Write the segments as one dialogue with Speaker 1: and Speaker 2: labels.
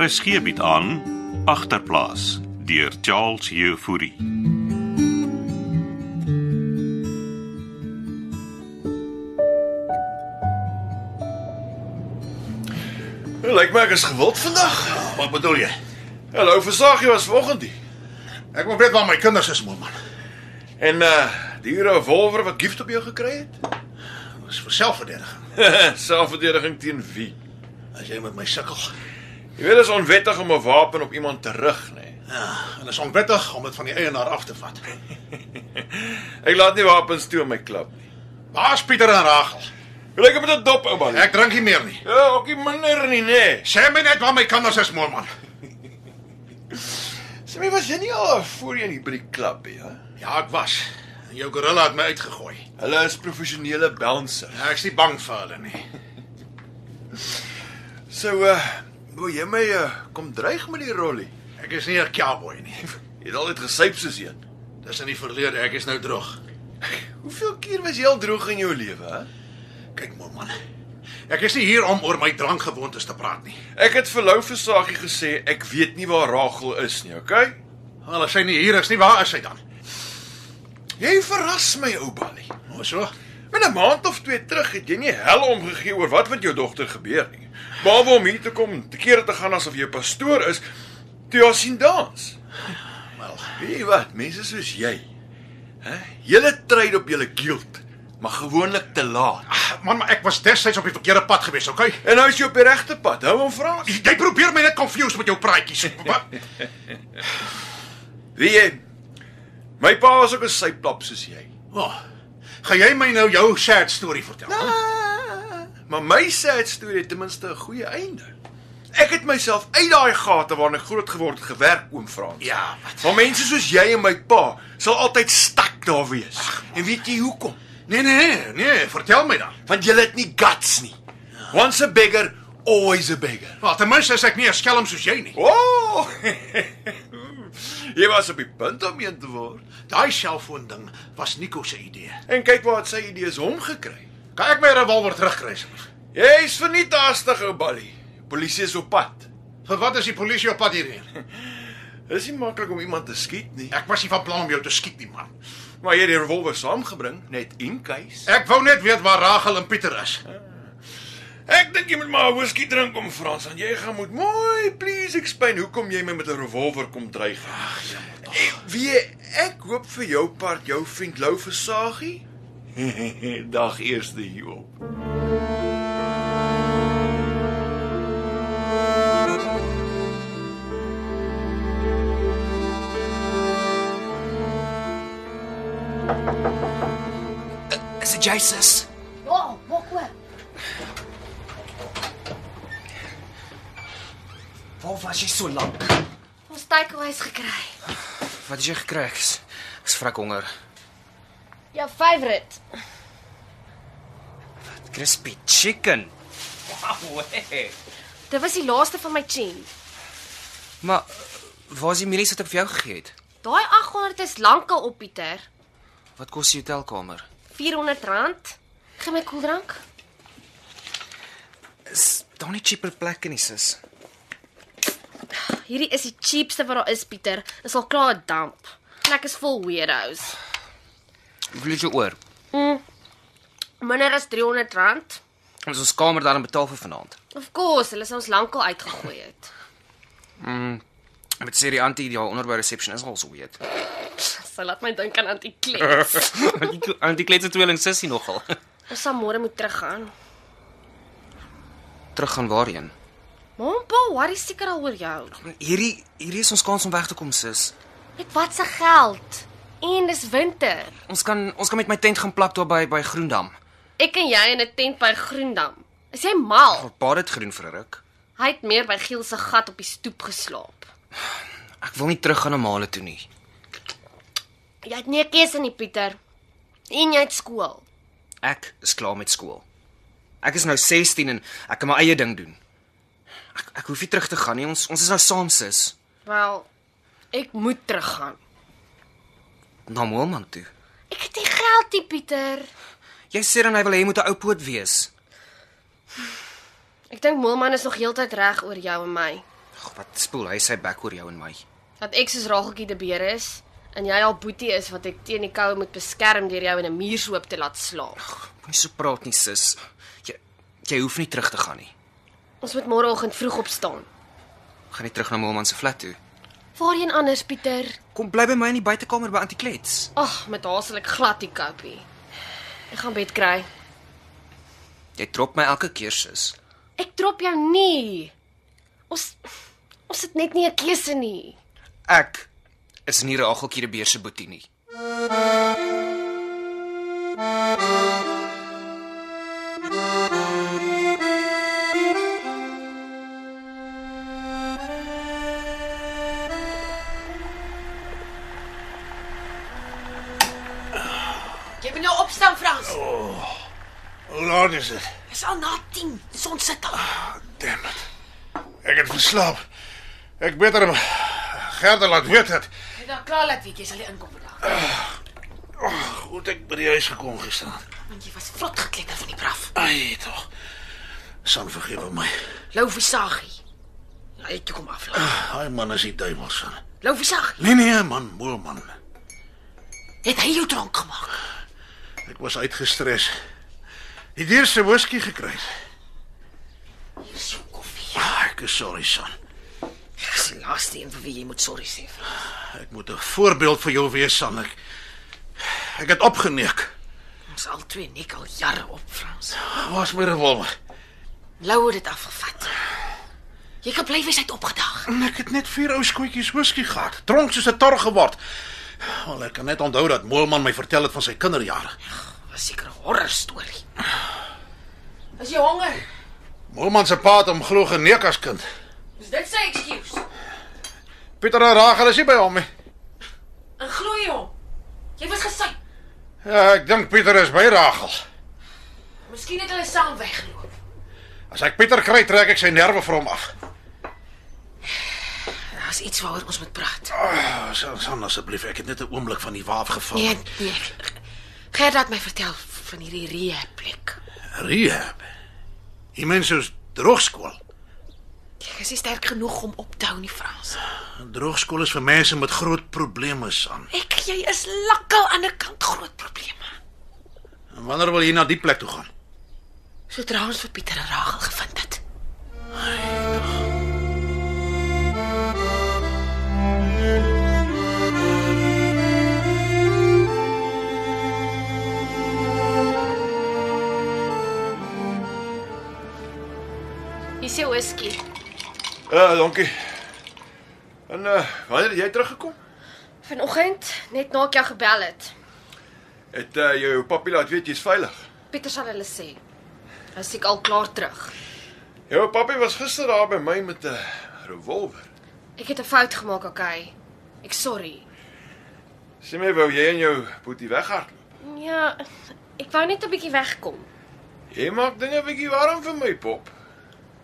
Speaker 1: RSG bied Er aan agterplaas deur Charles Jefouri.
Speaker 2: Dit lyk my ek is gewild vandag.
Speaker 3: Wat bedoel jy?
Speaker 2: Hallo, versaagie was vanoggend hier.
Speaker 3: Ek wil weet waar my kinders is, man.
Speaker 2: En uh die revolver wat gift op jou gekry het?
Speaker 3: Dis vir selfverdediging.
Speaker 2: Selfverdediging teen wie?
Speaker 3: As jy met my sukkel.
Speaker 2: Jy weet dit is onwettig om 'n wapen op iemand te rig, nê. Nee.
Speaker 3: Ja, en is onwettig om dit van die eienaar af te vat.
Speaker 2: Ek laat nie wapens toe in my klub nie.
Speaker 3: Waar's Pieter en Rachel?
Speaker 2: Hoe lyk dit met 'n dop ou man?
Speaker 3: Ek drink nie meer nie.
Speaker 2: Ja, ook nie minder nie, nê. Nee.
Speaker 3: Sê my net waar my kinders is, man.
Speaker 2: Sê my was jy nie al voorheen hier by die klub hier? Ja?
Speaker 3: Ja, ek was. En jou gorilla het my uitgegooi.
Speaker 2: Hulle is professionele bouncer.
Speaker 3: Ja, Ek's nie bang vir hulle nie.
Speaker 2: So uh wil jy my uh, kom dreig met die rollie?
Speaker 3: Ek is nie 'n cowboy nie.
Speaker 2: Jy het al net gesyp soos een.
Speaker 3: Dis in die verlede, ek is nou droog.
Speaker 2: Hoeveel keer was jy al droog in jou lewe, hè?
Speaker 3: Kyk, maar, man. Ek is nie hier om oor my drankgewoontes te praat nie.
Speaker 2: Ek het vir Lou Versaagie gesê ek weet nie waar Rachel is nie, okay?
Speaker 3: Wel, as sy nie hier is nie, waar is sy dan?
Speaker 2: Jy verras my ou Nou ballie.
Speaker 3: O, so.
Speaker 2: Met 'n maand of twee terug het jy nie hel omgegee oor wat met jou dogter gebeur nie. Behalwe om hier te kom, te kere te gaan asof jy 'n pastoor is, toe jy haar sien dans.
Speaker 3: Wel,
Speaker 2: Weet jy wat, mense soos jy, hè, julle tryd op julle guilt, maar gewoonlik te laat.
Speaker 3: ah, man, maar ek was destyds op die verkeerde pad gewees, okay?
Speaker 2: En nou is jy op die regte pad. Hou hom vra.
Speaker 3: Jy jy probeer my net confuse met jou praatjies. Wat?
Speaker 2: Wie jy? My pa was ook 'n syplap soos jy.
Speaker 3: Oh, gaan jy my nou jou sad story vertel? hè?
Speaker 2: Maar my sad storie het ten minste 'n goeie einde. Ek het myself uit daai gate waarin ek groot geword het gewerk, oom Frans.
Speaker 3: Ja, wat?
Speaker 2: Maar mense soos jy en my pa sal altyd stak daar wees. En weet jy hoekom?
Speaker 3: Nee, nee, nee, nee, vertel my dan.
Speaker 2: Want jy het nie guts nie. Once a beggar, always a beggar.
Speaker 3: Wel, ten minste is ek nie 'n skelm soos jy nie.
Speaker 2: Ooh! jy was op die punt om een te word.
Speaker 3: Daai selfoon ding was Nico se idee.
Speaker 2: En kyk waar het sy idees hom gekry.
Speaker 3: Kan ek my revolver terugkry asseblief?
Speaker 2: Jy's verniet haastig, ou Ballie. Polisie is op pad.
Speaker 3: Vir wat is die polisie op pad hierheen?
Speaker 2: Dis nie maklik om iemand te skiet nie.
Speaker 3: Ek was nie van plan om jou te skiet nie, man.
Speaker 2: Maar jy het die revolver saamgebring net in case.
Speaker 3: Ek wou net weet waar Rachel en Pieter is.
Speaker 2: Ek dink jy moet maar 'n whisky drink om Frans en jy gaan moet mooi please explain hoekom jy my met 'n revolver kom dreig. Ag, ja, jammer. Wie ek hoop vir jou part jou vriend Lou Versaagie dag eerste hierop.
Speaker 4: Is dit jy sis?
Speaker 5: Ja, maak oop.
Speaker 4: Waar was jy so lank?
Speaker 5: Ons takeaways gekry.
Speaker 4: Wat het jy gekry? Ek is- ek is vrek honger.
Speaker 5: Jou Ja, favourite.
Speaker 4: Crispy chicken. Wow. Hey.
Speaker 5: Dit was die laaste van my chin.
Speaker 4: Maar waar is die mielies wat ek vir jou gegee het?
Speaker 5: Daai 800 is lankal op Pieter.
Speaker 4: Wat kos die hotelkamer?
Speaker 5: R400. Gee my koeldrank.
Speaker 4: Is daar nie cheaper plekke nie sis?
Speaker 5: Hierdie is die cheapste wat daar is Pieter. Dit is al klaar 'n damp. Plek is vol weirdos.
Speaker 4: Hoeveel het jy oor?
Speaker 5: Minder as R300.
Speaker 4: Ons ons kamer daarin betaal vir vanaand.
Speaker 5: Of course, hulle sou ons lankal uitgegooi het.
Speaker 4: Met sê die antie die haar onder by reception is al so weet.
Speaker 5: Sy laat my dink aan Antie Klet.
Speaker 4: Die antie kletse tweeling sussie nogal.
Speaker 5: Ons sal môre moet teruggaan.
Speaker 4: Terug gaan waarheen?
Speaker 5: Mom, pa, worry seker al oor jou.
Speaker 4: Hierdie hierdie is ons kans om weg te kom sis.
Speaker 5: Net wat se geld. En dis winter.
Speaker 4: Ons kan ons kan met my tent gaan plak daar by by Groendam.
Speaker 5: Ek en jy in 'n tent by Groendam. Is jy mal?
Speaker 4: Baad dit groen vir 'n ruk.
Speaker 5: Hy het meer by Giel se gat op die stoep geslaap.
Speaker 4: Ek wil nie terug gaan na Male toe nie.
Speaker 5: Jy het nie 'n keuse nie, Pieter. En jy het skool.
Speaker 4: Ek is klaar met skool. Ek is nou 16 en ek kan my eie ding doen. Ek ek hoef nie terug te gaan nie. Ons ons is nou saam sis
Speaker 5: Wel, ek moet teruggaan.
Speaker 4: na Moelman toe.
Speaker 5: Ek het nie geld nie, Pieter.
Speaker 4: Jy sê dan hy wil hê jy moet 'n ou poot wees.
Speaker 5: Ek dink Moelman is nog heeltyd reg oor jou en my.
Speaker 4: Ag, wat spoel hy sy bek oor jou en my?
Speaker 5: Dat ek soos Rageltjie de Beer is en jy al boetie is wat ek teen die koue moet beskerm deur jou in 'n muurshoop te laat slaap.
Speaker 4: Moenie so praat nie, sis. Jy jy hoef nie terug te gaan nie.
Speaker 5: Ons moet môreoggend vroeg opstaan.
Speaker 4: Gaan nie terug na Moelman se flat toe.
Speaker 5: Waarheen anders, Pieter?
Speaker 4: Kom bly by my in die buitekamer by Auntie Klets.
Speaker 5: Ag, met haar sal ek glad nie kopie. Ek gaan bed kry.
Speaker 4: Jy trop my elke keer, sis.
Speaker 5: Ek drop jou nie. Ons ons het net nie 'n keuse nie.
Speaker 4: Ek is nie Rageltjie die beer se boetie nie.
Speaker 6: Jy moet nou opstaan, Frans.
Speaker 3: Hoe laat is dit?
Speaker 6: Dis al na 10. Die son sit al.
Speaker 3: Damn it. Ek het verslaap. Ek beter hom Gerda laat weet het.
Speaker 6: Jy dan klaar laat weet jy sal nie inkom vandag.
Speaker 3: Oh, Goed ek by die huis gekom gestaan.
Speaker 6: Want jy was vrot gekletter van die braaf.
Speaker 3: Ai tog. San vergewe my.
Speaker 6: Lou visagie. Ja, ek kom af.
Speaker 3: Ai man is die duiwel son.
Speaker 6: Lou visagie.
Speaker 3: Nee nee man, mooi man.
Speaker 6: Het hy jou dronk gemaak?
Speaker 3: Ek was uitgestres. Die duurste whisky gekry.
Speaker 6: Hier is jou koffie.
Speaker 3: Ja, ek is sorry son.
Speaker 6: Dis die laaste een vir wie jy moet sorry sê. Frans.
Speaker 3: Ek moet 'n voorbeeld vir jou wees son. Ek ek het opgeneek.
Speaker 6: Ons al twee nek al jare op, Frans.
Speaker 3: Waar's my revolver?
Speaker 6: Lou het dit afgevat. Jy kan bly wys hy het opgedag.
Speaker 3: En Ek het net vier ou skootjies whisky gehad. Dronk soos 'n tor geword. Wel, ek kan net onthou dat Moelman my vertel het van sy kinderjare.
Speaker 6: Was seker 'n horror storie. As jy honger,
Speaker 3: Moelman se pa het hom glo geneek as kind.
Speaker 6: is dit sy ekskuus.
Speaker 3: Pieter en Rachel is nie by hom nie.
Speaker 6: En glo jy hom? Jy was gesy.
Speaker 3: Ja, ek dink Pieter is by Rachel.
Speaker 6: Miskien het hulle saam weggeloop.
Speaker 3: As ek Pieter kry, trek ek sy nerve van hom af.
Speaker 6: Daar's iets waaroor ons moet praat.
Speaker 3: Oh, San, San asseblief, ek het net 'n oomblik van die waaf geval.
Speaker 6: Nee, nee. Gerda het my vertel van hierdie reë plek.
Speaker 3: Rehab. Jy mens soos droogskool.
Speaker 6: Ek is nie sterk genoeg om op te hou nie, Frans.
Speaker 3: Droogskool is vir mense met groot probleme aan.
Speaker 6: Ek jy is lakkal aan die kant groot probleme.
Speaker 3: En wanneer wil jy na die plek toe gaan?
Speaker 6: Sodra ons vir Pieter en Rachel gevind het.
Speaker 5: Hier is jou whisky.
Speaker 2: Uh, dankie. En uh, wanneer het jy teruggekom?
Speaker 5: Vanoggend net na ek jou gebel het.
Speaker 2: Het uh, jou papie laat weet jy's veilig.
Speaker 5: Pieter sal hulle sê. Hy seek al klaar terug.
Speaker 2: Jou papie was gister daar by my met 'n revolver.
Speaker 5: Ek het 'n fout gemaak, okay. Ek sorry.
Speaker 2: Sê my wou jy en jou boetie weghardloop.
Speaker 5: Ja, ek wou net 'n bietjie wegkom.
Speaker 2: Jy maak dinge bietjie warm vir my pop.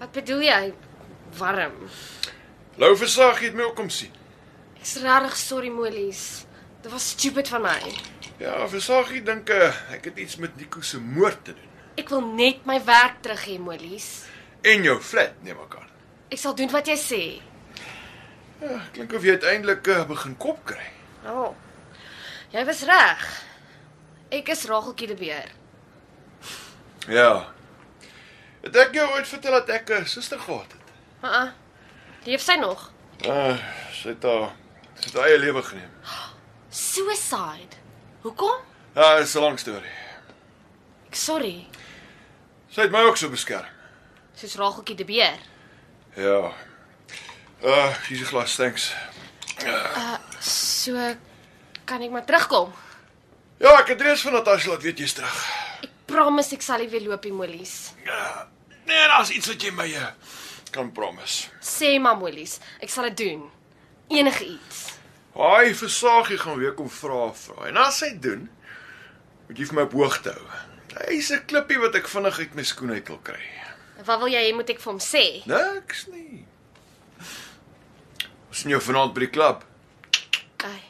Speaker 5: Wat bedoel jy? Warm.
Speaker 2: Lou versag het my ook kom sien.
Speaker 5: Ek's regtig sorry, Molies. Dit was stupid van my.
Speaker 2: Ja, versag ek dink uh, ek het iets met Nico se moord te doen.
Speaker 5: Ek wil net my werk terug hê, Molies.
Speaker 2: En jou flat neem ek aan.
Speaker 5: Ek sal doen wat jy sê.
Speaker 2: Ja, klink of jy uiteindelik uh, begin kop kry.
Speaker 5: Ja. Oh, jy was reg. Ek is Rageltjie de Beer.
Speaker 2: Ja. Het ek jou ooit vertel dat ek 'n suster gehad het?
Speaker 5: Ha. Uh -uh. Leef sy nog?
Speaker 2: Uh, sy het haar sy het haar eie lewe geneem.
Speaker 5: Suicide. Hoekom?
Speaker 2: Ja, dis 'n lang storie.
Speaker 5: Ek sorry.
Speaker 2: Sy het my ook so beskerm.
Speaker 5: Soos Rageltjie de Beer.
Speaker 2: Ja. Uh, hier's 'n glas, thanks.
Speaker 5: So kan ek maar terugkom.
Speaker 2: Ja, ek het reeds van Natasha laat weet jy's terug.
Speaker 5: Ek promise ek sal nie weer loop nie, Molies.
Speaker 2: Ja. Nee, daar's iets wat jy my uh, kan promise.
Speaker 5: Sê maar, Molies, ek sal dit doen. Enige iets.
Speaker 2: Haai, versaagie gaan weer kom vra vra. En as hy doen, moet jy vir my op hoogte hou. Hy's 'n klippie wat ek vinnig uit my skoen uit wil kry.
Speaker 5: Wat wil jy hê moet ek vir hom sê?
Speaker 2: Niks nie. Ons sien jou vanaand by die klub.
Speaker 5: Okay.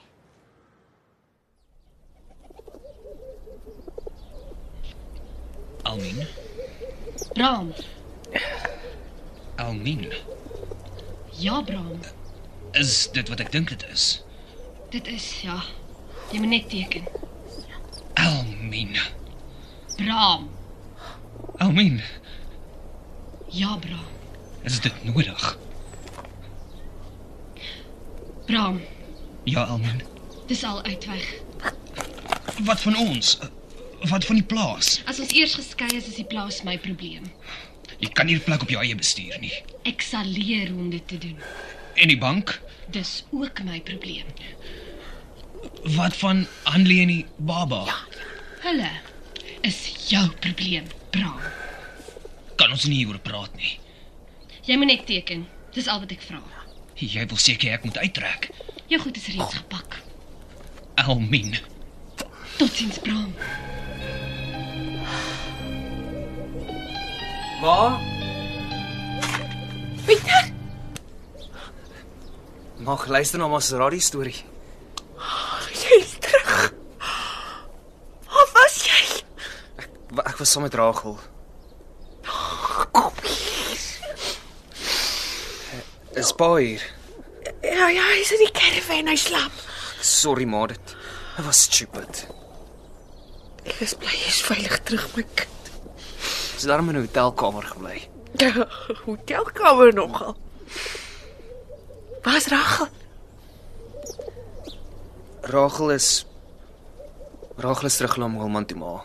Speaker 7: Almin.
Speaker 8: Raam,
Speaker 7: Almin.
Speaker 6: Ja, Bram.
Speaker 4: Is dit wat ek dink dit is?
Speaker 6: Dit is ja. Jy moet net teken.
Speaker 4: Elmien.
Speaker 6: Bram.
Speaker 4: Elmien,
Speaker 6: Ja, Bram.
Speaker 4: is dit nodig?
Speaker 6: Bram,
Speaker 4: Ja, Elmien.
Speaker 6: dis al uitweg.
Speaker 4: Wat van ons? Wat van die plaas?
Speaker 6: As ons eers geskei is, is die plaas my probleem.
Speaker 4: Jy kan nie die plek op jou eie bestuur nie.
Speaker 6: Ek sal leer hoe om dit te doen.
Speaker 4: En die bank?
Speaker 6: Dis ook my probleem.
Speaker 4: Wat van Annelie en die baba? Ja.
Speaker 6: Hulle is jou probleem, Bram.
Speaker 4: Kan ons er nie hieroor praat nie.
Speaker 6: Jy moet net teken. Dis al wat ek vra.
Speaker 4: Jy wil seker ek moet uittrek.
Speaker 6: Jou goed is reeds gepak.
Speaker 4: Elmien.
Speaker 6: Totsiens, Bram.
Speaker 4: Ma,
Speaker 6: Pieter,
Speaker 4: mag luister na Maserati storie.
Speaker 6: jy's terug. Waar was jy?
Speaker 4: Wa- Ek was saam met Rachel.
Speaker 6: Kom hier.
Speaker 4: Is pa hier?
Speaker 6: Ja, ja, hy's in die karavaan, hy slaap.
Speaker 4: Sorry ma, dit dit was stupid.
Speaker 6: Ek is bly jy's veilig terug, my kind.
Speaker 4: Ons het daarom in 'n hotelkamer gebly.
Speaker 6: Hotelkamer nogal. Waar's Rachel?
Speaker 4: Rachel is Rachel is terug na Moelman toe ma.